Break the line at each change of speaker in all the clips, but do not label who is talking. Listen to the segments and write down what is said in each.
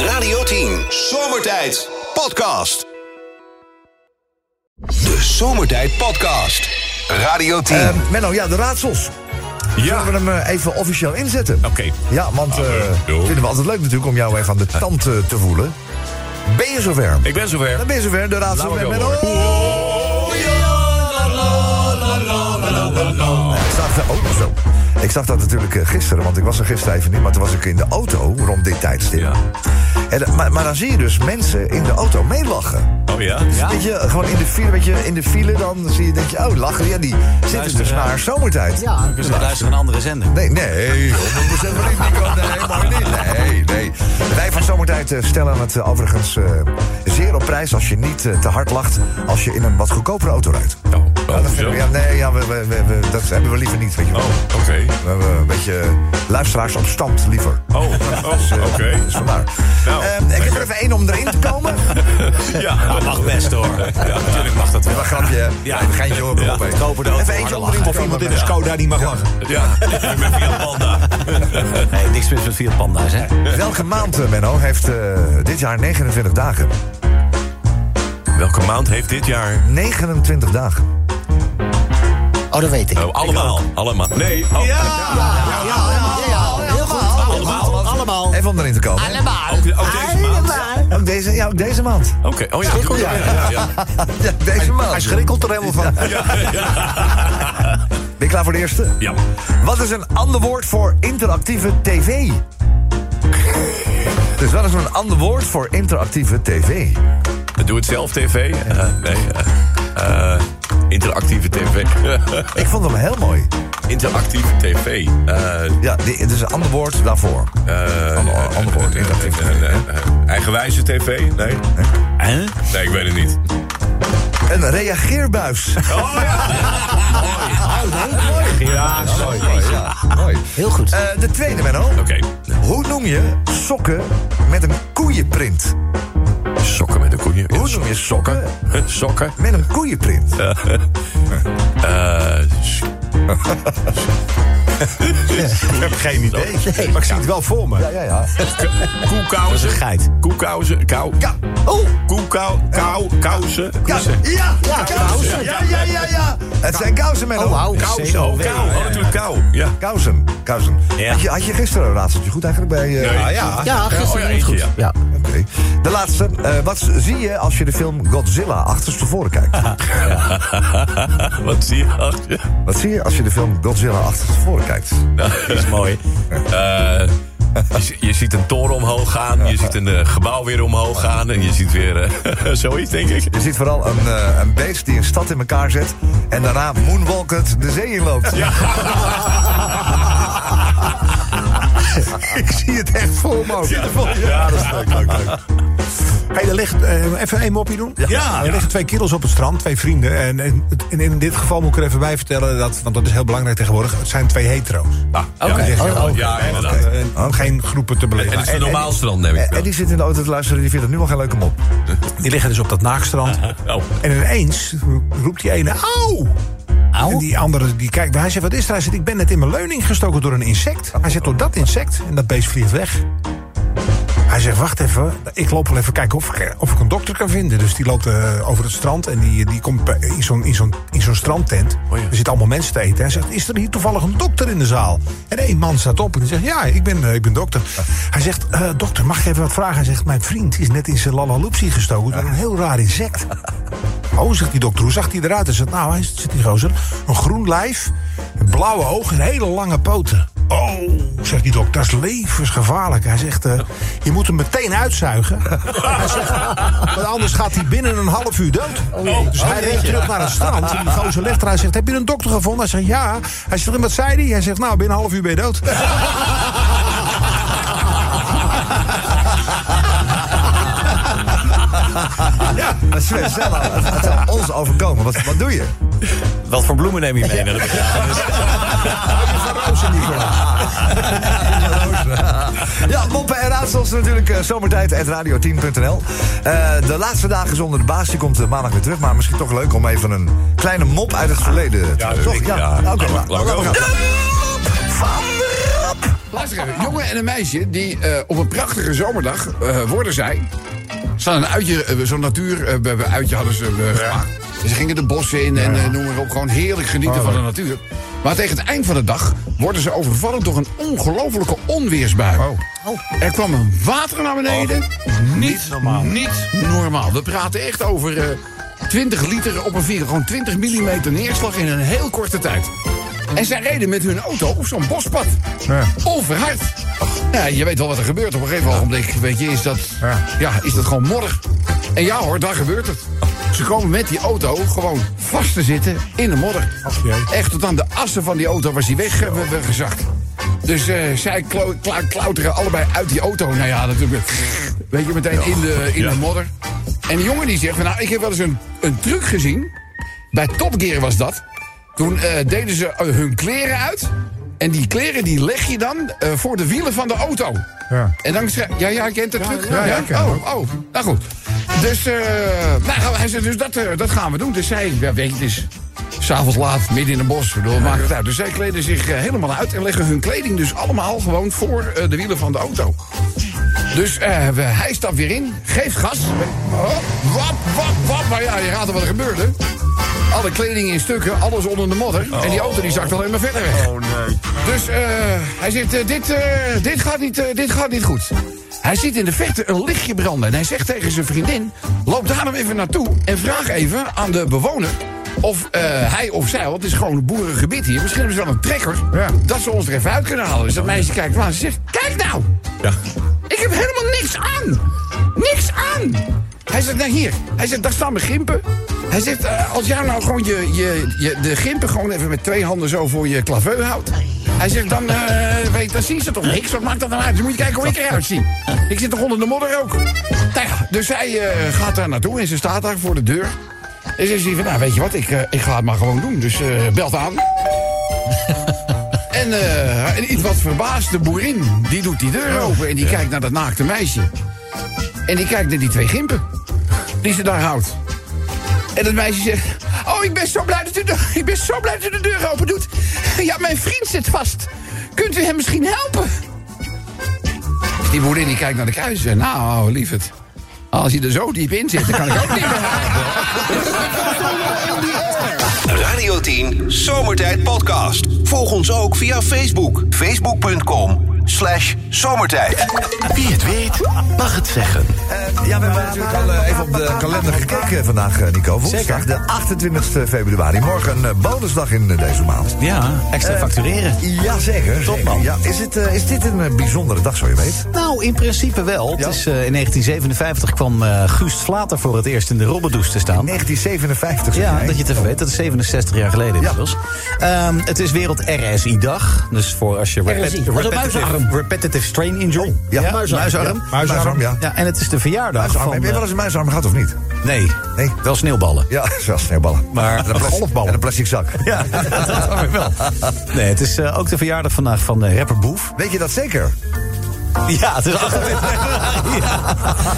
10. Zomertijd Podcast. De Zomertijd Podcast. Radio 10.
Eh, Menno, ja, de raadsels. Zullen we
Ja,
hem eh, even officieel inzetten?
Oké.
Ja, want eh
eh, joh.
vinden we altijd leuk natuurlijk om jou even aan de tand eh, te voelen. Ben je zover?
Ah. ik ben zover.
Dan ben je zover, de raadsel
Laat maar
met
komen,
Menno. Oh, Ik zag dat ook zo. Ik zag dat natuurlijk eh, gisteren, want ik was er gisteren even niet, maar toen was ik in de auto rond dit tijdstip.
Ja.
En, dan- maar, maar dan zie je dus mensen in de auto meelachen.
Oh ja? Ja.
Weet je, gewoon in de file, weet je, in de file dan zie je, denk je, oh, lachen. Ja, die zitten dus
Luisteren, ja.
naar zomertijd.
Ja, dus we luisteren naar een andere zender.
Nee, nee, joh, dat moet helemaal niet, Nico. Nee, maar niet. Nee, nee. Wij van Zomertijd eh, stellen het eh, overigens eh, zeer op prijs... als je niet eh, te hard lacht als je in een wat goedkopere auto rijdt. Ja,
Oh,
dat
oh,
vinden
zo.
we, ja, nee, ja, we, we- we- we- dat hebben we liever niet, weet je wel.
Oh, oké.
We hebben een beetje luisteraars op stand liever.
Oh, oh, oké.
Dus vandaar.
Nou,
Ehm, ik heb er even één om erin te komen.
Ja, dat mag best hoor. Ja, natuurlijk mag dat wel.
Wat grapje, hè?
Ja.
Een geintje hoor.
Ja,
kom op, hè.
goedkoper de auto,
Even
harder
eentje om
lachen.
erin te
Of
komen.
iemand in
ja.
een
Skoda die mag lachen.
Ja, ik ben Fiat Panda.
Nee, niks mis met Fiat Panda's, hè?
Welke maand, eh, Menno, heeft eh, dit jaar 29 dagen?
Welke maand heeft dit jaar?
29 dagen.
Oh, dat weet ik.
Oh, allemaal. Allemaal. Nee. Oh,
Heel goed. Allemaal. Allemaal.
Even om erin te komen.
Allemaal.
Ook, ook deze maand?
Ook deze, ja, ook deze maand.
Oké. Oh ja, goed. Ja, ja, ja.
Ja, deze maand.
Hij schrikkelt er helemaal van.
Ben je klaar voor de eerste?
Ja.
Wat is een ander woord voor interactieve tv? dus wat is een ander woord voor interactieve tv?
Doe het zelf tv. Eh, nee. eh, eh, interactieve tv.
Ik vond hem heel mooi.
interactieve tv. Eh, eh,
Ja, di- het is een ander woord daarvoor. Ander- ander woord,
eh,
interactieve
eh,
tv.
eh, eh, Eigenwijze tv? Nee.
Hè?
Nee, ik weet het niet.
Een reageerbuis.
Ja, sorry.
Mooi.
Heel goed.
Eh, de tweede, Menno.
Oké.
Hoe noem je sokken met een koeienprint?
Sokken met een koeien.
Hoe noem je sokken
Sokken.
met een koeienprint?
Eh, s-
Ik heb geen idee. Maar ik zie het wel voor me.
Ja, ja, ja.
Koekousen.
geit.
Koekousen. Kou.
Ja. Oh.
Koekousen. Kou. Kousen.
Ja, ja, ja, kousen. Ja, ja, ja, ja. Het zijn kousen, Menno.
Oh, wauw.
Kousen. Oh, kou. Oh, natuurlijk kou. Ja.
Kousen, kousen.
Ja.
Had, je, had je gisteren een raadseltje goed eigenlijk bij... eh,
Nee.
Ah ja.
Ja,
Oh, ja,
gisteren niet
eentje,
goed.
ja.
Ja.
oké. De laatste. Eh, wat zie je als je de film Godzilla achterstevoren kijkt?
Wat zie je achter je?
wat zie je als je de film Godzilla achterstevoren kijkt?
Dat is mooi. Eh, je, zi- je ziet een toren omhoog gaan. Je ziet een eh, gebouw weer omhoog gaan. En je ziet weer eh, zoiets, denk ik.
Je ziet vooral een, eh, een beest die een stad in elkaar zet... en daarna moonwalkend de zee inloopt. Ja.
Ik zie het echt voor me. ook.
Ja, dat is leuk, leuk, leuk.
Hey, er ligt, eh, even een mopje doen.
Ja.
Er liggen twee kerels op het strand, twee vrienden. En, en, en in dit geval moet ik er even bij vertellen, dat, want dat is heel belangrijk tegenwoordig. Het zijn twee hetero's.
Ah, ja,
Dat is
ja,
heel
ja,
belangrijk.
ja, inderdaad.
Eh, en om geen groepen te beleven.
En het is een
En- en-
normaal strand, neem ik
En eh,
wel.
die zit in de auto te luisteren, die vindt het nu al geen leuke mop.
die liggen dus op dat naakstrand.
Oh.
En ineens roept die ene, auw! En die andere die kijkt, hij zegt, wat is er? Hij zegt, ik ben net in mijn leuning gestoken door een insect. Hij zegt, door dat insect. En dat beest vliegt weg. Hij zegt, wacht even, ik loop wel even kijken of ik, eh, of ik een dokter kan vinden. Dus die loopt eh, over het strand en die, die komt bij- in zo'n in zo'n in zo'n strandtent.
Oh ja.
Er zitten allemaal mensen te eten. Hij zegt, is er hier toevallig een dokter in de zaal? En één man staat op en die zegt, ja, ik ben, eh, ik ben dokter. Hij zegt, eh, dokter, mag ik even wat vragen? Hij zegt, mijn vriend is net in zijn lalaloopsie gestoken door een heel raar insect. Oh, zegt die dokter, hoe zag hij eruit? Hij zegt, nou, hij zit die gozer. Een groen lijf, blauwe ogen en hele lange poten. Oh, zegt die dokter, dat is levensgevaarlijk. Hij zegt, eh, je moet hem meteen uitzuigen. hij zegt, want anders gaat hij binnen een half uur dood.
Oh,
dus hij rent terug naar het strand. En die gozer legt er, hij zegt, heb je een dokter gevonden? Hij zegt, ja. Hij zegt, en wat zei hij? Hij zegt, nou, binnen een half uur ben je dood.
Ja, maar Sven, stel nou, het, het zal ons overkomen. Wat, wat doe je?
Wat voor bloemen neem je mee? naar de
Ja, moppen en raadsels natuurlijk eh, zomertijd at radio10.nl. Eh, de laatste dagen zonder de baas, die komt eh, maandag weer terug. Maar misschien toch leuk om even een kleine mop uit het verleden te
dat
toch?
denk ik, ja.
oké.
Laat maar-
maar-
laat maar
maar-
komen.
De mop van de Rob.
Luister even. Een jongen en een meisje die eh, op een prachtige zomerdag eh, worden zij. Ze hadden een uitje, eh, zo'n natuur eh, be- be- uitje hadden ze eh, gemaakt. En Ze gingen de bossen in en eh, noem maar op. Gewoon heerlijk genieten van de natuur. Maar tegen het eind van de dag worden ze overvallen door een ongelofelijke onweersbui. Oh. Er kwam een water naar beneden. Oh. niet, normaal. Niet normaal. We praten echt over eh, 20 liter op een vier. Gewoon 20 millimeter neerslag in een heel korte tijd. En zij reden met hun auto op zo'n bospad.
Ja.
Overhard. Ja, je weet wel wat er gebeurt op een gegeven ogenblik. Weet je, is dat,
Ja.
ja. is dat gewoon modder? En ja hoor, daar gebeurt het. Ze komen met die auto gewoon vast te zitten in de modder.
Ach, jee.
Echt tot aan de assen van die auto was die weg, eh, we- we gezakt. Dus eh, zij klo- kla- klauteren allebei uit die auto. Nou ja, natuurlijk. Weet je, meteen in, de, in de modder. En die jongen die zegt, van, nou, ik heb wel eens een, een truc gezien. Bij Top Gear was dat. Toen eh, deden ze eh, hun kleren uit. En die kleren die leg je dan eh, voor de wielen van de auto.
Ja.
En dan schrijf Ja, ja, kent het truc?
ja, ik ken het
oh, oh, nou goed. Dus, eh, nou, hij zei, dus dat, eh, dat gaan we doen. Dus zij, ja, weet je, het is s'avonds laat, midden in een bos, bedoel, maakt het uit. Dus zij kleden zich eh, helemaal uit en leggen hun kleding dus allemaal gewoon voor eh, de wielen van de auto. Dus eh, we- hij stapt weer in, geeft gas. Hop, wap, wap, wap. Maar ja, je raadt al wat er gebeurde. Alle kleding in stukken, alles onder de modder. En die auto die zakt alleen maar verder weg. Dus eh, hij zegt, eh, dit, eh, dit, gaat niet, eh, dit gaat niet goed. Hij ziet in de verte een lichtje branden. En hij zegt tegen zijn vriendin, loop daar nou even naartoe... en vraag even aan de bewoner of eh, hij of zij... want het is gewoon een boerengebied hier... misschien hebben ze wel een trekker...
Ja.
dat ze ons er even uit kunnen halen. Dus dat meisje kijkt maar en ze zegt, kijk nou! Ik heb helemaal niks aan. Niks aan. Hij zegt, nou hier. Hij zegt, daar staan mijn gimpen. Hij zegt, eh, als jij nou gewoon je, je, je, de gimpen gewoon even met twee handen zo voor je claveu houdt. Hij zegt, dan, eh, weet, dan zien ze toch niks. Wat maakt dat dan uit? Dan moet je kijken hoe ik eruit zie. Ik zit toch onder de modder ook. Nou ja, dus zij eh, gaat daar naartoe en ze staat daar voor de deur. En ze zegt, van, nou weet je wat, ik, eh, ik ga het maar gewoon doen. Dus eh, belt aan. En eh, een iets wat verbaasde boerin, die doet die deur open en die kijkt naar dat naakte meisje. En die kijkt naar die twee gimpen die ze daar houdt. En dat meisje zegt, oh ik ben zo blij dat u de, ik ben zo blij dat u de deur open doet. Ja, mijn vriend zit vast. Kunt u hem misschien helpen? Dus die boerin die kijkt naar de kruis en zegt, nou lieverd. Als je er zo diep in zit, dan kan ik ook niet meer.
Radio 10 Zomertijd Podcast. Volg ons ook via Facebook. Facebook.com slash zomertijd.
Wie het weet, mag het zeggen.
Eh, ja, we hebben natuurlijk al eh, even op de kalender gekeken vandaag, eh, Nico. Woensdag, de 28 februari. Morgen een eh, bonusdag in eh, deze maand.
Ja, extra factureren.
Jazeker.
Top,
zeker.
man.
Ja, is, het, eh, is dit een eh, bijzondere dag, zo je weet?
Nou, in principe wel.
Ja.
Het is, eh, in 1957 kwam eh Guus Slater voor het eerst in de Robbedoes te staan.
1957, zeg
Ja,
jij.
dat je het even weet. Dat is 67 jaar geleden inmiddels. Ehm, het is Wereld RSI-dag. Dus voor als je repet-
RSI, dat is een
repetitive,
muisarm.
repetitive strain injury.
Oh, Ja, muisarm.
muisarm.
Ja, muisarm, ja.
En het is de verjaardag
Muisarm.
van...
Heb je wel eens een muisarm gehad of niet?
eh, nee,
Nee.
wel sneeuwballen.
Ja, zelfs sneeuwballen.
Maar-
en een plas-
golfballen.
En een plastic zak.
Ja, dat dan weer wel. Nee, het is eh, ook de verjaardag vandaag van eh, rapper Boef.
Weet je dat zeker? Oh,
Ja, het is 28 februari. ja.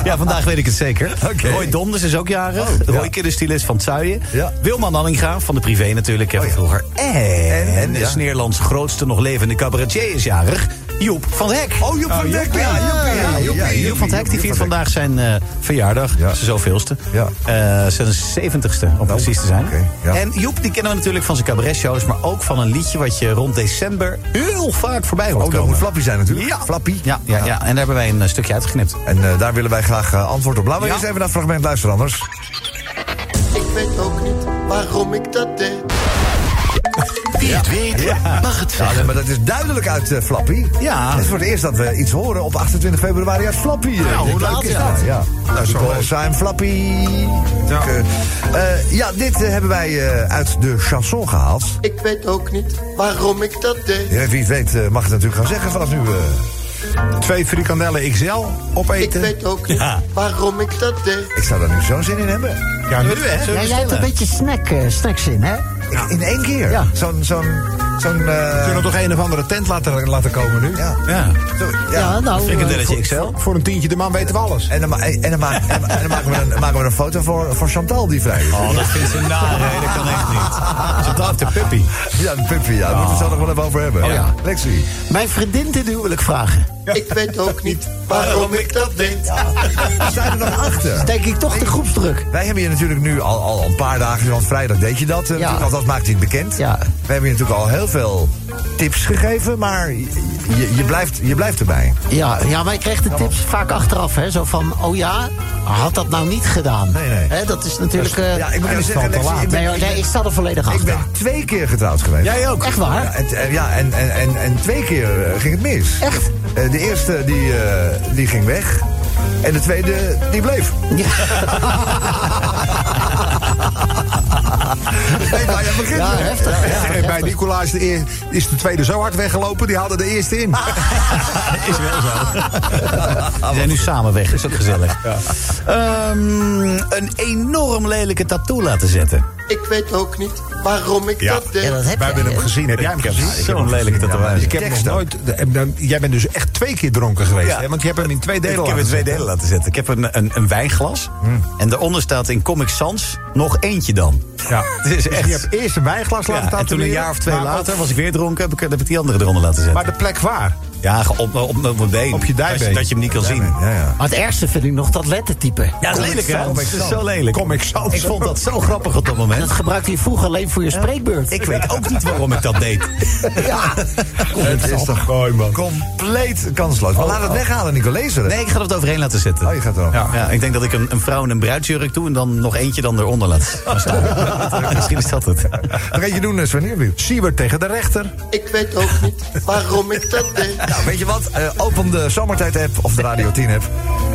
ja, vandaag weet ik het zeker.
Oké. Oh,
Roy Donders is ook jarig.
ja.
Roy Kidde, stylist van Zuien.
Ja. Oh,
Wilman Nanninga van de Privé natuurlijk. hè, van
ja.
vroeger. En,
En, en,
de
ja.
Sneerlands grootste nog levende cabaretier is jarig. Joep van het Hek. Oh, Joep
van het Hek, ja,
Ja,
Joepie, ja, Joepie,
ja, Joep van het Hek die
Joep
viert
van het
vandaag zijn eh, verjaardag.
Ja.
Zijn zoveelste.
Ja. Nou,
Eh, zijn zeventigste, om precies te zijn.
oké, ja.
En Joep, die kennen we natuurlijk van zijn cabaretshows... maar ook van een liedje wat je rond december heel vaak voorbij hoort
Oh, dat
komen.
moet Flappy zijn natuurlijk.
Ja.
Flappy.
Ja, ja, ja. en daar hebben wij een eh, stukje uitgeknipt.
En eh, daar willen wij graag eh, antwoord op. Laten we
Ja.
eens even naar het fragment luisteren, anders.
Ik weet ook niet waarom ik dat deed.
Wie het weet, mag het
Ja, nee,
zeggen.
maar dat is duidelijk uit eh, Flappy.
Ja.
Het is voor het eerst dat we iets horen op 28 februari uit Flappy. Nou,
hoe laat is dat?
Ja. Nou, zijn Flappy. Ja, ja dit eh, hebben wij eh, uit de chanson gehaald.
Ik weet ook niet waarom ik dat deed.
Ja, wie het weet eh, mag het natuurlijk gaan zeggen vanaf nu. eh.
Twee frikandellen XL
Ik
opeten.
weet ook niet waarom ik dat deed.
ik zou daar nu zo'n zin in hebben.
Ja, nu hè.
Jij hebt een beetje snack, eh, snacks in, hè?
In één keer.
Ja.
Zo'n zo'n Zo'n... eh,
Kunnen we toch een of andere tent laten, laten komen nu?
ja.
Ja.
Zo,
Ja, nou. eh,
Frikandelletje XL.
Voor een tientje de man weten we alles.
En dan, ma- en dan, ma- en dan maken, we een, maken we een foto voor, voor Chantal die vrij is.
Oh, dat vindt ze naar, hè? Dat kan echt niet. Ze dacht de puppy.
Ja, een puppy, ja. Daar moeten we het zo nog wel even over
Oh,
hebben.
ja.
Lexi.
Mijn vriendin dit huwelijk vragen.
Ik weet ook niet waarom ik dat deed.
We zijn er nog achter.
Denk ik toch de groepsdruk.
Wij hebben je natuurlijk nu al, al een paar dagen, want vrijdag deed je dat. eh,
Ja.
natuurlijk, Althans, maakt hij het bekend.
Ja.
We hebben je natuurlijk al heel veel tips gegeven, maar je, je, blijft, je blijft erbij.
Ja, ja, wij kregen de tips vaak achteraf. Hè? Zo van, oh ja, had dat nou niet gedaan.
Nee, nee.
Hè, dat is natuurlijk... eh,
Ja, ik moet even zeggen, Lexi, ik ben-
nee, hoor, nee, ik sta er volledig
Ik
achter.
ben twee keer getrouwd geweest.
Jij ook?
Echt waar?
Ja, en, en- ja, en, en, en, en twee keer eh, ging het mis.
Echt?
Eh, de eerste die, eh, die ging weg. En de tweede die bleef. Nee, maar jij begint
Ja,
weer.
heftig. Ja.
En bij Nicolaas de eer- is de tweede zo hard weggelopen, die haalde de eerste in.
Is wel zo. We zijn nu samen weg, is ook gezellig. Ehm, een enorm lelijke tattoo laten zetten.
Ik weet ook niet waarom ik
Ja.
dat deed.
Ja, dat heb
Wij
je.
hebben hem gezien. Heb jij hem gezien?
Zo'n lelijke
maar die
tatoeage.
Ik heb nog
tekst ook.
nooit. de- en dan- Jij bent dus echt twee keer dronken geweest,
Ja.
hè? Want je hebt hem in twee delen
Ik heb
laten
het twee
zitten.
delen laten zetten. Ik heb een, een, een wijnglas. En daaronder staat in Comic Sans nog eentje dan.
Ja.
Het is
Dus
echt...
je hebt eerst een wijnglas
Ja,
laten
en toen een
tatoeëren,
jaar of twee
maar
later
op-
was ik weer dronken. Heb ik, heb ik die andere eronder laten zetten.
Maar de plek waar?
ja, ge- op, op, op, mijn been.
Op je dijbeen.
Dat je, dat je hem niet kan zien.
Ja, ja.
Maar het ergste vind ik nog dat lettertype.
Ja, het is lelijk, hè?
Comic
Het is
Sans.
zo lelijk.
Comic Sans.
Ik vond dat zo grappig op dat
Dat
moment.
gebruikte je vroeger alleen voor je spreekbeurt.
Ik weet ook niet waarom ik dat deed.
ja.
Het is toch
Mooi, man. Oh,
compleet kansloos. Maar laat het weghalen, Nico. Lezen.
Nee, ik ga het overheen laten
Oh, je
zetten.
gaat erop.
Ja.
Ja, ik denk dat ik een, een vrouw in een bruidsjurk doe en dan nog eentje dan eronder laat staan. Misschien is dat het.
Wat ga je doen, eh, Sven Nierwiep?
Siebert tegen de rechter.
Ik weet ook niet waarom ik dat deed.
Nou, weet je wat? Eh, open de Zomertijd-app of de Radio 10-app.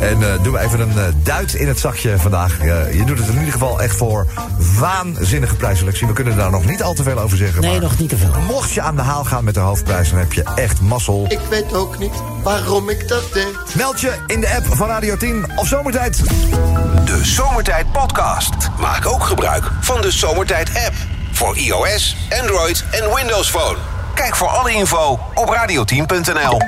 En eh doe even een eh, duit in het zakje vandaag. Eh, je doet het in ieder geval echt voor waanzinnige prijsselectie. We kunnen daar nog niet al te veel over zeggen.
Nee,
maar
nog niet te veel.
Mocht je aan de haal gaan met de hoofdprijs, dan heb je echt mazzel.
Ik weet ook niet waarom ik dat deed.
Meld je in de app van Radio 10 of Zomertijd.
De Zomertijd Podcast. Maak ook gebruik van de Zomertijd app. Voor iOS, Android en Windows Phone. Kijk voor alle info op radio10.nl.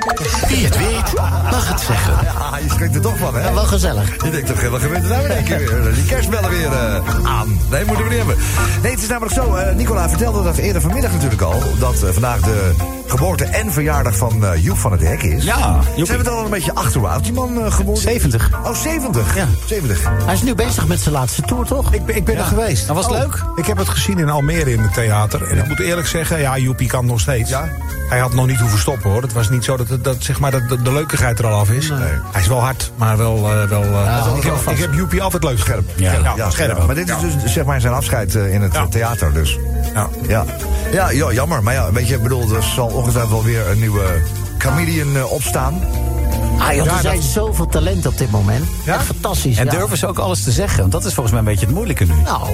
Wie het weet, mag het zeggen.
Ja, Ah, je schrikt er toch van, hè?
Ja, wel gezellig.
Je denkt toch, wat gebeurt er nou in één keer weer? Die kerstbellen weer eh, aan. Nee, moeten we niet hebben. Nee, het is namelijk zo. eh, Nicola vertelde dat eerder vanmiddag natuurlijk al. Dat eh, vandaag de geboorte en verjaardag van eh Joep van het Hek is.
Ja,
Ze hebben het al een beetje achter. Hoe oud die man eh, geworden?
70.
Oh, 70.
Ja.
70.
Hij is nu bezig met zijn laatste tour, toch?
Ik ben, ik ben er geweest.
Dat was
Oh,
leuk.
Ik heb het gezien in Almere in het theater. En ik moet eerlijk zeggen, ja, Joepie kan nog steeds.
Ja?
Hij had nog niet hoeven stoppen hoor. Het was niet zo dat, het- dat, zeg maar, dat de, de leukigheid er al af is. Hij is wel hard, maar wel. eh, wel eh, ik, heb, ik heb Joepie altijd leuk scherp.
Ja.
ja, scherp.
Maar dit is dus zeg maar zijn afscheid eh, in het
Ja.
eh, theater dus.
Ja.
Ja. Ja, jo- jammer. Maar ja, weet je, ik bedoel, er zal ongetwijfeld wel weer een nieuwe comedian eh, opstaan.
Ah, joh,
Ja,
er zijn
dat-
zoveel talenten op dit moment.
Ja?
Echt fantastisch.
En
ja.
durven ze ook alles te zeggen? Want dat is volgens mij een beetje het moeilijke nu.
Nou,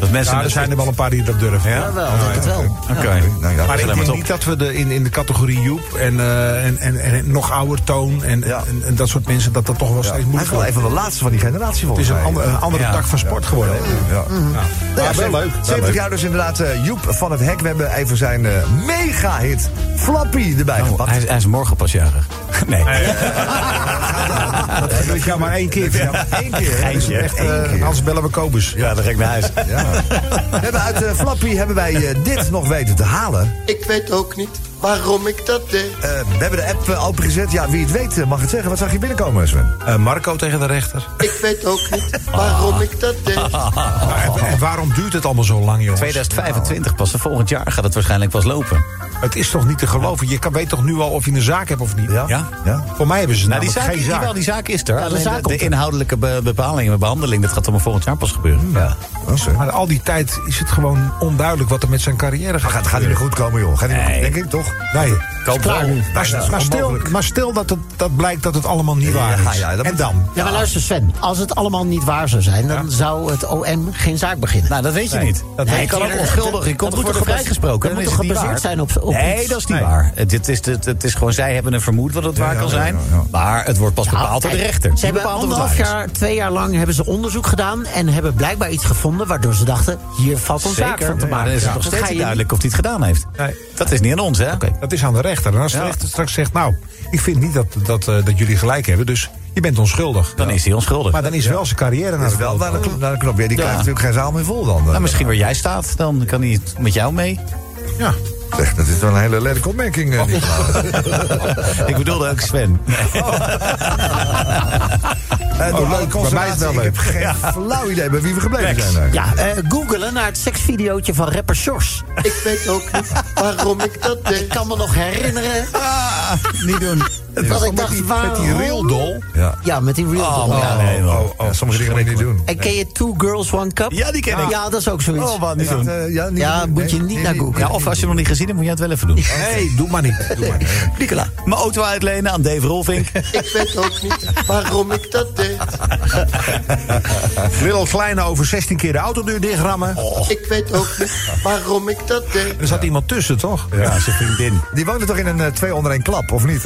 Dat mensen
Ja, er zijn er wel een paar die dat durven. Ja?
wel, denk het wel.
Oké.
Nou, ja,
Maar ik
Alleen maar
denk
top.
niet dat we de, in, in de categorie Joep en, eh, en, en, en nog ouder toon en,
Ja.
en, en dat soort mensen, dat dat toch wel
Hij
steeds
is
moeilijk
wel
wordt.
een
Het
van de laatste van die generatie volgens
is een,
mij.
ander- een andere
Ja.
tak van sport geworden. hè?
Ja.
Ja,
Ja,
wel leuk. Wel
70
leuk.
jaar dus inderdaad. eh, Joep van het Hek. We hebben even zijn eh, mega-hit Flappy erbij
Oh,
gepakt.
hij, is- hij is morgen pas jarig. Nee.
Dat gebeurt jou maar één keer. Ja,
Eén keer. hè?
Geintje,
Dus echt,
echt, eh,
één keer.
anders bellen we Kobus.
Ja, dan ga ik naar huis.
Ja. We hebben uit eh, Flappy hebben wij eh, dit nog weten te halen.
Ik weet ook niet waarom ik dat deed.
Eh, we hebben de app eh, opengezet. Ja, wie het weet eh, mag het zeggen. Wat zag je binnenkomen, Sven?
Eh, Marco tegen de rechter.
Ik weet ook niet waarom ik dat deed.
Maar en- en waarom duurt het allemaal zo lang, jongens?
2025 pas. Volgend jaar gaat het waarschijnlijk pas lopen. Nou,
Het is toch niet te geloven? Je kan, weet toch nu al of je een zaak hebt of niet?
Ja?
Ja.
Voor mij hebben ze
Nou, die
namelijk
zaak,
geen zaak.
jawel, die zaak is er.
de
Alleen de,
zaak
de
komt er.
inhoudelijke be- bepalingen en behandeling, dat gaat allemaal volgend jaar pas gebeuren. Ja.
Oh, zo.
Maar al die tijd is het gewoon onduidelijk wat er met zijn carrière gaat.
Gaat, gaat hij er goed komen, joh? Gaat hij er
Nee.
goed, denk ik, toch?
Nee.
Koop
klaar
wel.
nu.
Maar,
Bijna
maar stil,
onmogelijk.
maar stil dat, het, dat blijkt dat het allemaal niet waar
Ja,
is.
ja, dat
en
moet-
dan?
Ja, maar luister Sven, als het allemaal niet waar zou zijn, dan zou het OM geen zaak beginnen.
Nou, dat weet je niet.
dat
nee,
weet
je kan
je
ook
niet.
onschuldig. Je komt
Dat
toch
moet
worden
toch gebas-
vrijgesproken.
dat
Dan
moet
is
toch
het niet
gebaseerd
waar.
zijn op- op
Nee,
iets?
dat is niet
Nee.
waar. Het, het is, het, het is gewoon, zij hebben een vermoed wat het waar
ja,
kan
ja,
zijn.
ja, ja.
Maar het wordt pas
Nou,
bepaald door de
kijk,
rechter.
Ze hebben
bepaalt of het
anderhalf
waar is.
jaar, twee jaar lang hebben ze onderzoek gedaan en hebben blijkbaar iets gevonden waardoor ze dachten, hier valt een zaak van te
Zeker, maar
maken.
dan is het
Ja.
nog
Dat
steeds
ga
niet
je
duidelijk of hij het gedaan heeft.
Nee.
Dat is niet aan ons, hè?
Dat is aan de rechter. En als de
Ja.
rechter straks zegt, nou, ik vind niet dat, dat, eh, dat jullie gelijk hebben, dus je bent onschuldig.
Dan is hij onschuldig.
Maar dan is wel zijn carrière naar
Dat is
de
wel
kloot.
naar de, kno- naar de knop. Ja, die krijgt natuurlijk geen zaal meer vol dan. eh.
Nou, misschien waar jij staat, dan kan hij het met jou mee.
Ja. Oh.
Zeg, dat is wel een hele lelijke opmerking. eh, Nicolaas.
Ik bedoelde ook Sven.
Eh, door
bij
de
mij is het wel
conservatie. Ik heb
leuk.
geen flauw idee bij wie we gebleven zijn. eigenlijk.
Ja, eh googelen naar het seksvideootje van rapper Sjors.
Ik weet ook niet waarom ik dat
Ik
deed.
kan me nog herinneren
niet doen.
dat ik
Ah,
dacht,
Met die
waarom?
reeldol. Ja.
Ja, met die real doll, ja.
Oh, oh, oh, sommige dingen moet je niet doen.
En ken je Two Girls, One Cup?
Ja, die ken ik.
Ja, dat is ook zoiets.
Oh, wat niet doen.
Eh, ja, niet
ja,
doen.
moet je
Nee,
niet
nee,
naar
nee.
googlen.
Ja, of als je hem nog niet gezien hebt, moet je het wel even doen.
Nee, doe maar niet. Doe maar niet.
Nicola. Mijn auto uitlenen aan Dave Rolvink.
Ik weet ook niet waarom ik dat deed.
Little Kleine over 16 keer de autodeur dichtrammen.
Ik weet ook niet waarom ik dat deed.
Er zat iemand tussen, toch?
Ja, zijn vriendin.
Die woonde toch in een eh, twee onder één klap, of niet?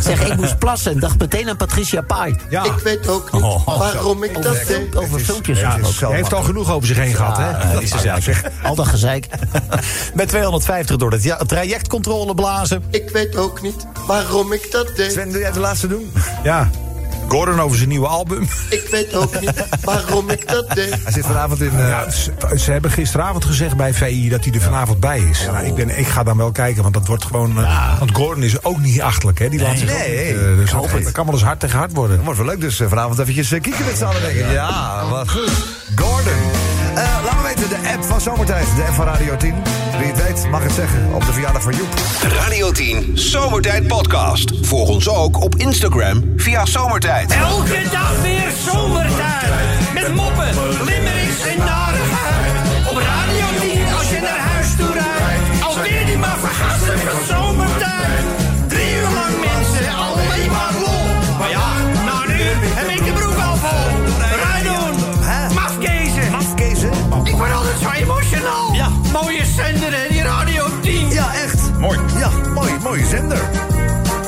Zeg, ik moest plassen en dacht meteen aan Patricia Pai.
Ja.
Ik weet ook niet waarom ik dat deed.
Over, film- over filmpjes.
het is
ook.
zo
Hij heeft al genoeg over zich heen gehad, hè?
Ah, is ja, zeg.
Al dat gezeik.
Met 250 door het ja- trajectcontrole blazen.
Ik weet ook niet waarom ik dat deed.
Sven, wil jij de laatste doen?
Ja. Gordon over zijn nieuwe album.
Ik weet ook niet waarom ik dat deed.
Hij zit vanavond in... eh,
Ja, ze, ze hebben gisteravond gezegd bij VI dat hij er vanavond bij is.
Oh.
Nou, ik, ben, ik ga dan wel kijken, want dat wordt gewoon... eh, Want Gordon is ook niet achtelijk, hè? Die laat zich ook
nee,
niet, eh,
ik
dus
hoop
dat,
het.
dat kan wel eens hard tegen hard worden.
Het wordt wel leuk, dus eh, vanavond eventjes eh, kieken met z'n allen, denk ik. Ja, wat goed. Gordon. Eh, laat me weten, de app van Zomertijd. De app van Radio 10. Wie het weet, mag het zeggen. Op de verjaardag van Joep.
Radio 10 Zomertijd Podcast. Volg ons ook op Instagram via Zomertijd.
Elke dag weer zomertijd. Met moppen, limmerings en narigheid. Op Radio 10 als je naar huis toe rijdt. Alweer die maar vergasselijke zomertijd. Drie uur lang mensen, alleen maar lol. Maar ja, na nu heb ik de broek al vol. Rijdoen, mafkezen.
Afkezen.
Ik word altijd zo emotional.
Ja.
Mooie zender hè, die Radio 10.
Ja, echt. Mooi. Ja, mooi. Mooie zender.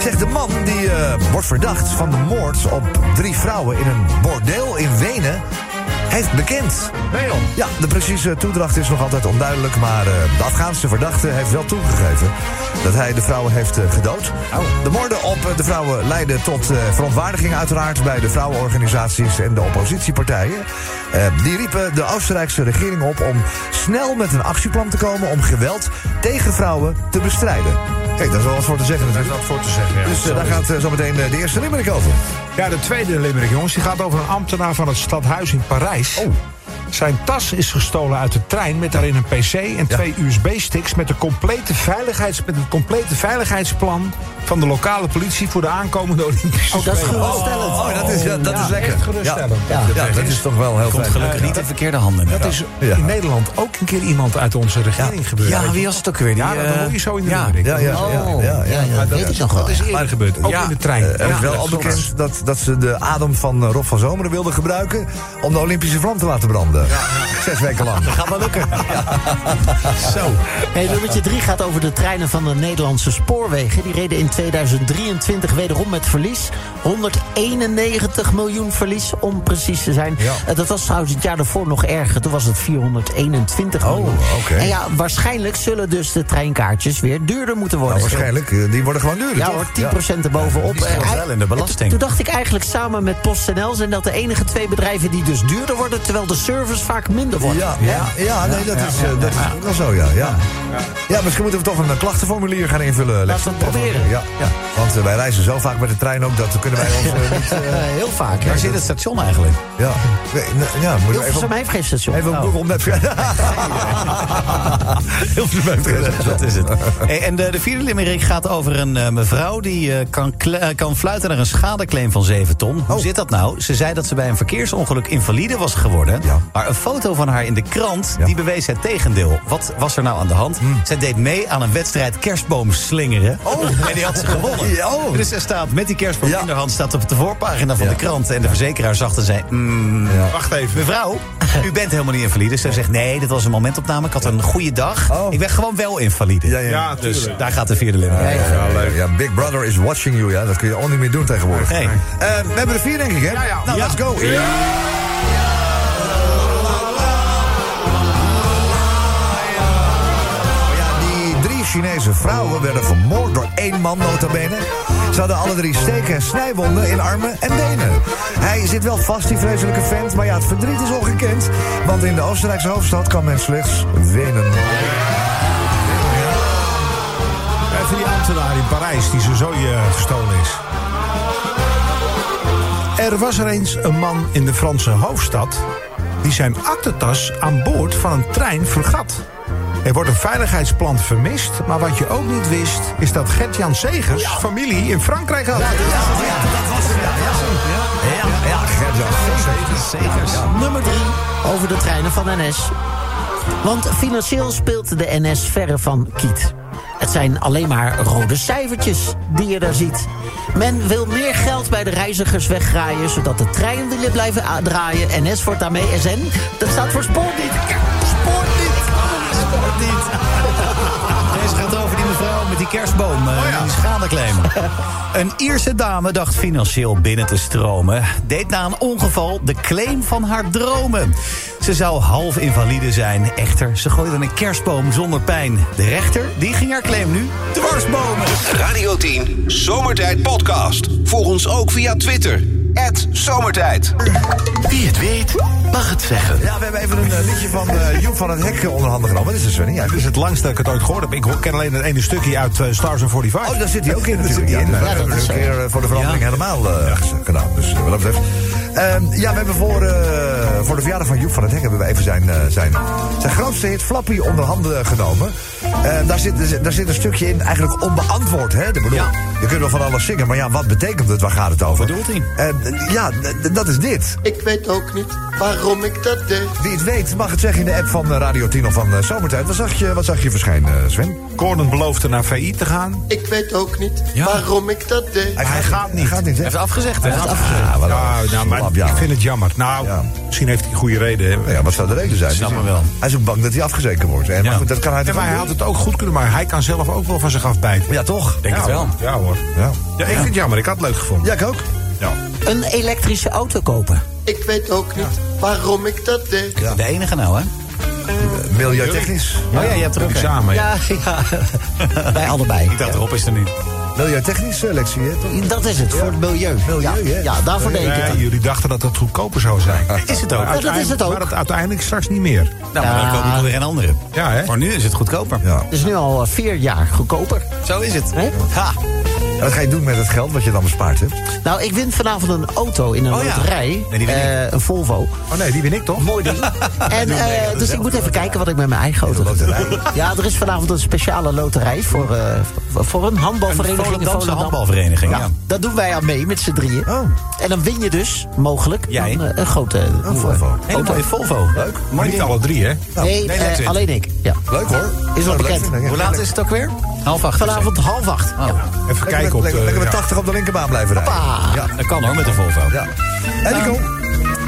Zegt de man die eh, wordt verdacht van de moord op drie vrouwen in een bordeel in Wenen... heeft bekend.
Nee, joh.
Ja, de precieze toedracht is nog altijd onduidelijk. Maar eh, de Afghaanse verdachte heeft wel toegegeven dat hij de vrouwen heeft eh, gedood. De moorden op eh, de vrouwen leidden tot eh, verontwaardiging uiteraard... bij de vrouwenorganisaties en de oppositiepartijen. Eh, die riepen de Oostenrijkse regering op om snel met een actieplan te komen... om geweld tegen vrouwen te bestrijden. Kijk, daar is wel wat voor te zeggen
Daar is
natuurlijk.
wat voor te zeggen, ja.
Dus eh, daar gaat eh, zometeen eh, de eerste limmerik over.
Ja, de tweede limerick, jongens, die gaat over een ambtenaar van het stadhuis in Parijs. Zijn tas is gestolen uit de trein met daarin een pc en twee USB-sticks... Met, de complete veiligheids- met het complete veiligheidsplan van de lokale politie voor de aankomende Olympische
Oh, dat is
Spelen.
geruststellend.
Oh, dat is, ja, dat is lekker.
echt geruststellend.
Ja, ja, dat is toch wel heel
Komt
fijn.
gelukkig niet in verkeerde handen. meer.
Dat is
Ja.
in Nederland ook een keer iemand uit onze regering gebeurd.
Ja,
weet je.
wie was het ook weer? Die,
Ja, dat
eh,
hoor je zo in de
ja.
limerick.
Ja, ja, ja,
Oh,
ja, ja, ja.
dat weet ik nog wel.
Dat is eerder gebeurd, ook
Ja.
in de trein.
eh, Er is
Ja,
wel
dat
al
klopt.
bekend dat, dat ze de adem van eh, Rob van Zomeren wilden gebruiken... om de Olympische vlam te laten branden. Zes weken lang.
Gaat wel lukken. Zo.
Hey, nummertje 3 gaat over de treinen van de Nederlandse spoorwegen. Die reden in 2023 wederom met verlies. 191 miljoen verlies, om precies te zijn.
Ja.
Eh, Dat was trouwens het jaar daarvoor nog erger. Toen was het 421 miljoen.
oké.
En ja, waarschijnlijk zullen dus de treinkaartjes weer duurder moeten worden.
Nou, waarschijnlijk, eh, die worden gewoon duurder,
Ja
toch?
hoor, 10% erbovenop.
Die stond
Eh,
wel in de belasting.
Toen dacht ik eigenlijk samen met PostNL zijn dat de enige twee bedrijven die dus duurder worden, terwijl de servers vaak minder worden.
Ja, ja, ja, nee, dat is, eh, dat is ook wel zo, ja. ja. Ja, misschien moeten we toch een eh, klachtenformulier gaan invullen. Lex.
we het proberen.
Ja, ja. Want eh, wij reizen zo vaak met de trein ook, dat kunnen wij ons eh, niet...
Eh, heel vaak.
Waar zit het station eigenlijk?
Ja, Nee, nee, ja moeten we even...
Hilversum heeft geen station.
Even op Google Maps. Heel vervelend.
Dat is het. Hey, en de, de vierde limerick gaat over een eh, mevrouw die eh, kan, kle- eh, kan fluiten naar een
Oh.
schadeclaim van 7 ton. Hoe zit dat nou? Ze zei dat ze bij een verkeersongeluk invalide was geworden.
Ja.
Maar Maar een foto van haar in de krant, die bewees het tegendeel. Wat was er nou aan de hand? Zij deed mee aan een wedstrijd kerstboom slingeren.
Hmm. Oh.
En die had ze gewonnen.
Ja, oh.
Dus ze staat met die kerstboom
Ja.
in haar hand... staat op de voorpagina van de krant. En de verzekeraar zag en zei... "Mm,
Wacht even.
Mevrouw, u bent helemaal niet invalide. Ze zegt, nee, dit was een momentopname. Ik had een goede dag. Ik ben gewoon wel invalide.
Oh. Ja, ja. Ja,
dus daar gaat de vierde limmer.
Ja, Big Brother is watching you. Ja, dat kun je al niet meer doen tegenwoordig.
Nee.
Eh, we hebben er vier, denk ik, hè?
Ja, ja.
Nou,
Ja.
let's go. Oh Die drie Chinese vrouwen werden vermoord door één man, notabene. Ze hadden alle drie steken en snijwonden in armen en benen. Hij zit wel vast, die vreselijke vent, maar ja, het verdriet is ongekend. Want in de Oostenrijkse hoofdstad kan men slechts wenen.
Even die ambtenaar in Parijs die zijn zooi eh, gestolen is. Er was er eens een man in de Franse hoofdstad... die zijn aktentas aan boord van een trein vergat. Er wordt een veiligheidsplan vermist... maar wat je ook niet wist, is dat Gert-Jan Segers familie in Frankrijk had.
Ja, ja,
Nummer 3 over de treinen van NS. Want financieel speelt de NS verre van kiet. Het zijn alleen maar rode cijfertjes die je daar ziet. Men wil meer geld bij de reizigers weggraaien... zodat de trein willen blijven a- draaien. NS wordt daarmee SN. Dat staat voor spoor niet. Spoor niet.
Of niet? Deze gaat over die mevrouw met die kerstboom.
Oh,
eh, en Die schadeclaim. Een Ierse dame dacht financieel binnen te stromen. Deed na een ongeval de claim van haar dromen. Ze zou half invalide zijn. Echter, ze gooide een kerstboom zonder pijn. De rechter, die ging haar claim nu dwarsbomen.
Radio 10 Zomertijd Podcast. Volg ons ook via Twitter. Zomertijd.
Wie het weet, mag het zeggen.
Ja, we hebben even een eh, liedje van eh Joep van het Hek eh, onder handen genomen. Wat is het, Sven? Ja,
Het is het langste dat ik het ooit gehoord heb. Ik ken alleen het ene stukje uit eh, Stars and 45.
Oh, daar zit hij ook in natuurlijk. Ja, dus we hebben hem een keer eh, voor de verandering helemaal eh, gedaan. Dus eh, wat dat betreft.
nou,
Ehm, ja, we hebben voor, eh, voor de verjaardag van Joep van het Hek... hebben we even zijn, eh, zijn, zijn grootste hit Flappy onder handen genomen. Eh, daar, zit, daar zit een stukje in, eigenlijk onbeantwoord. Hè? Ik bedoel, Je kunt wel van alles zingen, maar ja, wat betekent het? Waar gaat het
Wat
over?
bedoelt
hij? ja, d- d- dat is dit.
Ik weet ook niet waarom ik dat deed.
Wie het weet mag het zeggen in de app van eh, Radio 10 of van eh, Zomertijd. Wat zag je, wat zag je verschijnen, eh, Sven?
Gordon beloofde naar VI te gaan.
Ik weet ook niet waarom ik dat deed.
Hij gaat niet. Hij gaat niet, hè?
Heeft afgezegd, hè?
Ja, Ah, wat een
Ja, nou,
slap,
maar
ja.
ik vind het jammer. Nou,
Ja.
misschien heeft hij goede reden. hè.
Nou Ja, wat zou de reden zijn?
Snap
Dus
me wel.
Hij is ook bang dat hij afgezeken wordt. En, maar goed, dat kan hij
En
toch
maar hij
ook
had
doen?
het ook goed kunnen, maar hij kan zelf ook wel van zich afbijten.
Ja, toch?
ja,
Nou.
hoor. Ja hoor.
Ja.
Ja, ik vind het jammer. Ik had het leuk gevonden.
Ja, ik ook.
Een elektrische auto kopen.
Ik weet ook niet waarom ik dat deed.
De enige nou, hè?
Milieutechnisch.
Oh ja, je hebt er ook een.
Examen.
Ja, ja. Bij allebei.
Ik dacht, Rob is er niet.
Milieutechnisch, eh, Lexie, hè, toch?
Dat is het, voor het milieu.
Milieu,
ja,
hè?
ja, daarvoor denk ik het.
Nee, jullie dachten dat dat goedkoper zou zijn.
Is het ook?
Maar
Ja, dat is het ook.
Maar dat uiteindelijk straks niet meer.
Nou, maar dan koop ik weer een andere.
Ja, hè?
Voor nu is het goedkoper.
Ja.
Het is nu al eh, vier jaar goedkoper.
Zo is het.
Hè?
Ha.
En wat ga je doen met het geld wat je dan bespaard hebt?
Nou, ik win vanavond een auto in een
Oh ja.
loterij.
Nee, die win ik.
Eh, een Volvo.
Oh nee, die ben ik toch?
Mooi ding. en, eh, dus ik moet even kijken wat ik met mijn eigen auto ga doen. Ja, er is vanavond een speciale loterij voor, eh, voor- voor een handbalvereniging. in
Volendamse
Volendam.
handbalvereniging, ja.
Dat doen wij aan mee met z'n drieën. En dan win je dus, mogelijk,
Jij?
dan, eh, een grote een
Volvo.
Hele mooie Volvo. Leuk.
Maar niet alle drie, hè?
Nee,
nee,
eh,
Lexus.
alleen ik. Ja.
Leuk hoor.
Is wel
Nou, leuk
bekend.
vind ik, ja.
Hoe laat is het ook weer? Half acht. Oh.
Vanavond half acht. Ja.
Even
Lekker met-
kijken op de...
lekker, lekker met
ja.
80 op de linkerbaan blijven rijden. Ja.
Dat kan hoor, met de Volvo.
ja. En ik kom.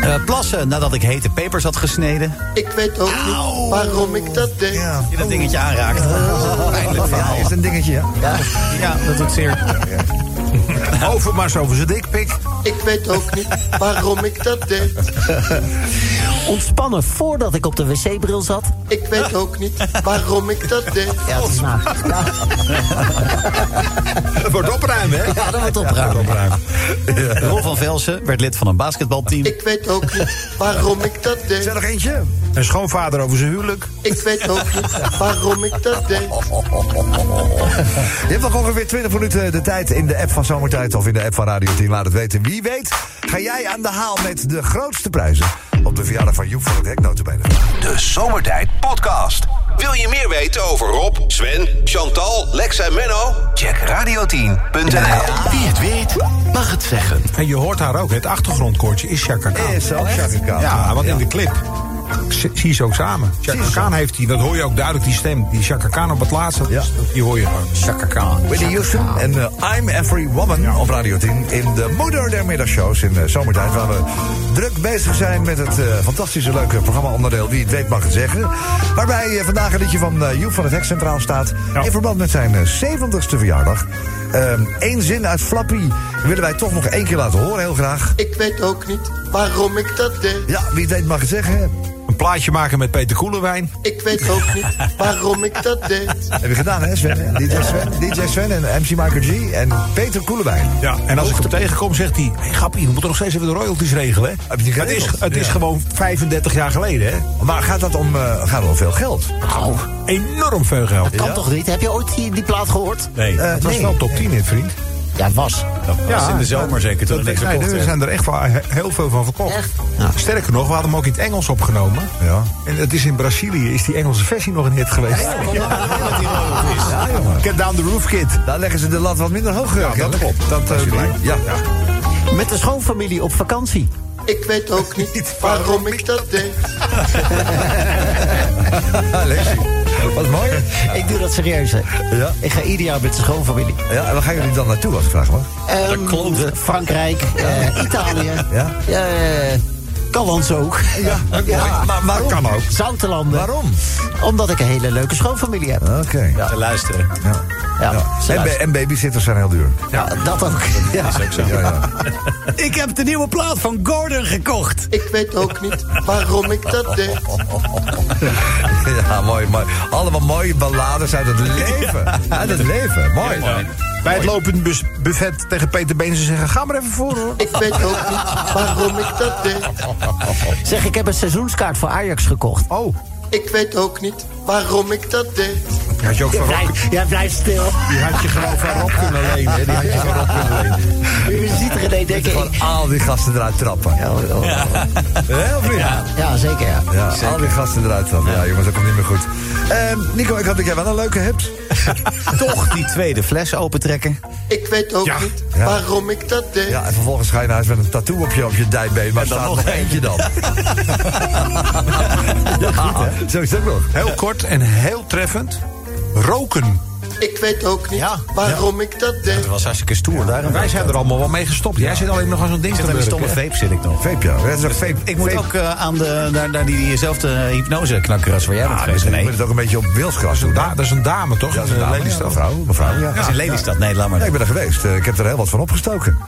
Eh, plassen nadat ik hete pepers had gesneden.
Ik weet ook niet waarom ik dat deed.
Ja.
Je dat dingetje aanraakt. Pijnlijk
Ja,
verhaal.
is een dingetje, ja.
Ja, dat doet zeer.
Over maar eens over zijn dikpik.
Ik weet ook niet waarom ik dat deed.
Ontspannen voordat ik op de wc-bril zat.
Ik weet ook niet waarom ik dat deed.
Ja, dat is na. Ja,
Het wordt opruimen, hè?
ja, dat wordt opruimen.
Roel van Velsen werd lid van een basketbalteam.
Ik weet ook niet waarom ik dat
Is er
deed.
nog eentje?
Een schoonvader over zijn huwelijk.
Ik weet ook niet waarom ik dat deed.
Je hebt nog ongeveer 20 minuten eh, de tijd in de app van Zomertijd of in de app van Radio 10. Laat het weten. Wie weet, ga jij aan de haal met de grootste prijzen op de verjaardag van Joep van het Hek notabene.
De Zomertijd Podcast. Wil je meer weten over Rob, Sven, Chantal, Lex en Menno? Check radio10.nl.
Wie het weet, mag het zeggen.
En je hoort haar ook, hè? het achtergrondkoortje is Chaka Khan.
Is ook Chaka Khan.
Ja, want
Ja.
in de clip Zie zie ze ook samen. Chaka Khan heeft die, dat hoor je ook duidelijk, die stem. Die Chaka Khan op het laatste, die hoor je gewoon.
Chaka Khan. Whitney Houston en eh, I'm Every Woman op Radio 10 in de moeder der middagshows in eh, zomertijd. Waar we druk bezig zijn met het eh, fantastische leuke programma-onderdeel Wie het weet mag het zeggen. Waarbij eh, vandaag een liedje van eh Joep van het Hek centraal staat. In verband met zijn eh, 70ste verjaardag. Eén zin uit Flappy willen wij toch nog één keer laten horen, heel graag.
Ik weet ook niet waarom ik dat deed.
Ja, wie het weet mag het zeggen.
Een plaatje maken met Peter Koelewijn.
Ik weet ook niet waarom ik dat deed.
Heb je gedaan, hè, Sven? DJ Sven, DJ Sven en MC Michael G. En Peter Koelewijn.
Ja, en als ik hem tegenkom, zegt hij... Hey, grappie, we moeten nog steeds even de royalties regelen. hè?"
Heb je die
het is,
geregeld?
het is
Ja.
gewoon 35 jaar geleden, hè?
Maar gaat dat om, eh, gaat het om veel geld?
Au,
Enorm veel geld.
kan toch niet? Heb je ooit die, die plaat gehoord?
Nee,
Eh,
Het was wel top 10 in, vriend.
Ja, het was.
dat was in de zomer zeker toen er niks
Nee, dus
verkocht
er
werd.
zijn er echt wel
eh,
he- heel veel van verkocht.
Echt? Ja.
Sterker nog, we hadden hem ook in het Engels opgenomen.
Ja.
En het is in Brazilië, is die Engelse versie nog een hit geweest.
Ja, jongen.
Get Down the Roof Kid.
Daar leggen ze de lat wat minder hoog. Ja,
dat klopt.
Dat, eh,
Als je
ja.
lijkt.
Ja.
Met de schoonfamilie op vakantie.
Ik weet ook niet waarom ik dat deed.
Lexie. Wat mooi.
Ik doe dat serieus, hè.
Ja.
Ik ga ieder jaar met de schoonfamilie.
Ja, en waar gaan jullie dan naartoe als ik vraag mag?
Ehm, Frankrijk, eh, Italië.
Ja.
Eh, Callans ook. Ja,
Maar waarom?
Kan ook.
Zoutelanden.
Waarom?
Omdat ik een hele leuke schoonfamilie heb.
Oké. Ja.
Te luisteren.
Ja, ze
En, ba-
luisteren.
en babysitters zijn heel duur.
Ja, dat ook. Ja.
Ja, ja.
Ik heb de nieuwe plaat van Gordon gekocht.
Ik weet ook niet waarom ik dat deed.
ja mooi, mooi. Allemaal mooie ballades uit het leven. Uit het leven. Mooi.
Bij het lopend bus- buffet tegen Peter Been ze zeggen... ga maar even voor, hoor.
Ik weet ook niet waarom ik dat deed.
Zeg, ik heb een seizoenskaart voor Ajax gekocht.
Oh,
Ik weet ook niet waarom ik dat deed.
die had je ook van Rob,
Blijf, jij blijft stil.
die had je gewoon van Rob kunnen lenen. hè. Die had je van Rob kunnen lenen.
U ziet René
Dat je
denken...
Gewoon al die gasten eruit trappen.
Ja, oh, oh.
Heel vriend.
ja, zeker ja.
Ja, al die gasten eruit dan. Ja, jongens, dat komt niet meer goed. Ehm, Nico, ik had dat jij wel een leuke hebt.
Toch die tweede fles opentrekken.
Ik weet ook
Ja.
niet
Ja.
waarom ik dat deed.
Ja, en vervolgens ga je naar huis met een tattoo op je, op je dijbeen. Maar er staat nog eentje dan. ja, zo is het ook nog.
Heel kort en heel treffend. Roken.
Ik weet ook niet
Ja.
waarom ik dat deed.
Dat was hartstikke stoer. Daarom
Wij zijn er allemaal wel mee gestopt. Jij zit alleen nog aan zo'n ding
zit
te
aan die stomme
lurken, hè?
vape zit ik nog.
Vape, ja. Dat is een vape.
Ik moet
vape.
ook eh, aan de, naar, naar die, diezelfde hypnose knakker als waar jij bent
Ah, dus
geweest.
je
Nee,
moet het ook een beetje op wilsgras doen.
Da- dat is een dame, toch?
Ja,
Dat is een Lelystad.
Mevrouw, mevrouw, ja.
dat is in Lelystad. Nee, laat maar.
Ja, ik ben er geweest. Eh, Ik heb er heel wat van opgestoken.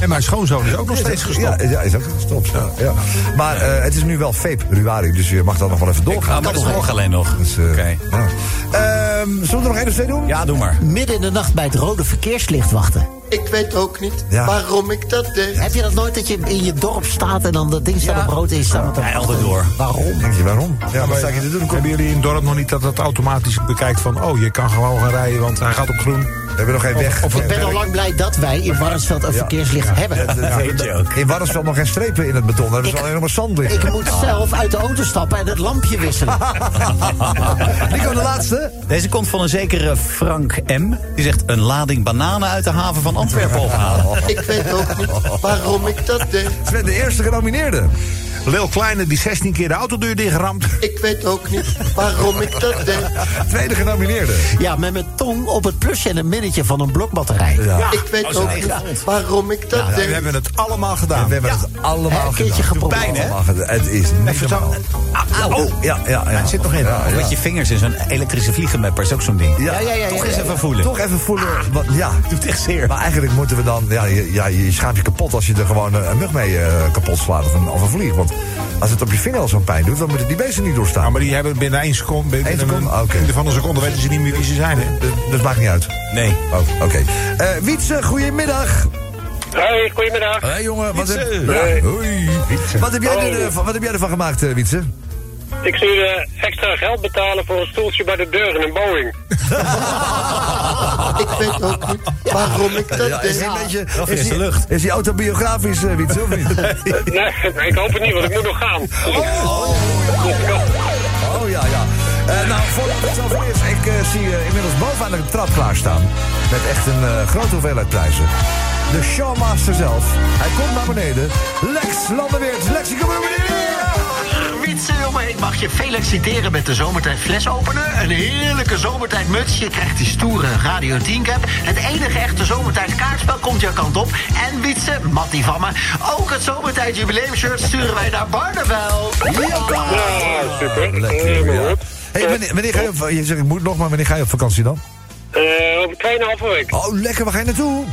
En mijn schoonzoon is ook nog steeds gestopt.
Ja, ja is ook gestopt. Ja, ja. Maar eh, het is nu wel vape-ruari, dus je mag dan nog wel even doorgaan.
Ah, maar dat is morgen alleen nog.
Dus, eh, ja. Ehm, zullen we er nog één of twee doen?
Ja, doe maar.
Midden in de nacht bij het rode verkeerslicht wachten.
Ik weet ook niet
Ja.
waarom ik dat deed.
Heb je dat nooit dat je in je dorp staat en dan dat ding staat op rood en je staat met een-
Hij altijd door.
Waarom?
Oh, Denk je, waarom? Ja, wat sta ik hier te doen? Kom.
Hebben jullie in het dorp nog niet dat dat automatisch bekijkt van... oh, je kan gewoon gaan rijden, want hij gaat op groen.
We hebben nog geen weg.
of
Ik ben al lang blij dat wij in Warnsveld een verkeerslicht hebben.
Ja,
weet je ook.
In Warnsveld nog geen strepen in het beton. Daar hebben ze alleen nog maar zand liggen.
Ik moet zelf uit de auto stappen en het lampje wisselen.
Nico, de laatste.
Deze komt van een zekere Frank M. Die zegt een lading bananen uit de haven van Antwerpen ophalen.
Ik weet ook niet waarom ik dat deed.
Sven, de eerste genomineerde.
Lil Kleine die 16 keer de autodeur dichtramt.
Ik weet ook niet waarom ik dat deed.
Tweede genomineerde.
Ja, met mijn tong op het plusje en een minnetje van een blokbatterij.
Ja.
Ik weet ook niet waarom ik dat
We
deed.
hebben het allemaal gedaan.
We hebben het allemaal
Een
gedaan.
keertje geprobeerd.
Doet Allemaal gedaan. Het is niet
Even zo.
normaal. Oh, ja, ja, ja.
Er zit nog in.
Ja, ja.
Met je vingers in zo'n elektrische vliegenmepper is ook zo'n ding.
Ja, ja, ja,
Toch
ja,
eens
ja.
even voelen.
Toch even voelen. Ah, wat- Ja.
doet echt zeer.
Maar eigenlijk moeten we dan... Ja, je, ja, je schaamt je kapot als je er gewoon eh, een mug mee eh, kapot slaat. Of een, of een vlieg. Want als het op je vinger al zo'n pijn doet... dan moeten die beesten niet
Nou,
doorstaan.
maar die hebben binnen één seconde... Binnen
Eén seconde?
een-
Oké.
in de van een seconde weten ze niet meer wie ze zijn. Hè?
Dus, dus maakt niet uit.
Nee.
Oh, oké. Eh, Wietse, goedemiddag.
Hoi, goedemiddag.
Hé jongen, wat heb,
Hoi.
Ja, hoi. Wat, heb jij
Hoi.
er, eh, van- wat heb jij ervan gemaakt, eh, Wietse?
Ik zou eh, extra geld betalen voor een stoeltje bij de deur in een Boeing.
Ik weet ook niet waarom ik dat
is,
deed.
die een beetje,
dat
is,
is
die,
de lucht.
is die autobiografisch, eh, Wietse, of niet?
Nee, ik hoop het niet, want ik moet nog gaan.
oh ja, ja. Eh, nou, voordat het zover is, ik eh, zie eh, inmiddels bovenaan de trap klaarstaan. Met echt een eh, grote hoeveelheid prijzen. de showmaster zelf. Hij komt naar beneden. Lex Landenweert. Lexie, kom maar beneden.
Witsen omheen mag je feliciteren met de zomertijd flesopener. Een heerlijke zomertijdmuts. Je krijgt die stoere Radio 10 cap. Het enige echte zomertijd kaartspel komt jouw kant op. En Witsen, Mattie van me. Ook het zomertijd jubileumshirt sturen wij naar Barneveld.
Ja, super.
Lekker,
Helemaal
ja.
goed.
Hey, eh, oh. wanneer, wanneer ga je op, je zegt, ik moet nog maar, wanneer ga je op vakantie dan?
Eh, Over 2,5 week.
Oh, lekker, waar ga je naartoe?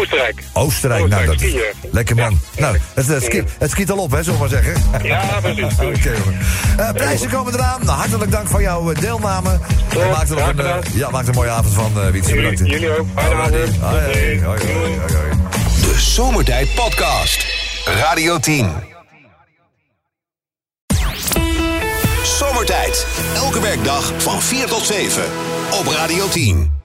Oostenrijk.
Oostenrijk, nou dat is lekker man. nou, het, het, skiet, het skiet al op, hè, zullen we maar zeggen.
Ja, precies.
Oké, jongen. Eh, prijzen komen eraan. Nou, hartelijk dank voor jouw eh, deelname. En maak er nog een, eh, ja, maak er een mooie avond van, eh Wietse. Bedankt. Jullie ook. Fijne avond. Hoi, hoi, hoi, hoi, hoi.
De Zomertijd Podcast. Radio 10. Zomertijd. Elke werkdag van 4 tot 7. Op Radio 10.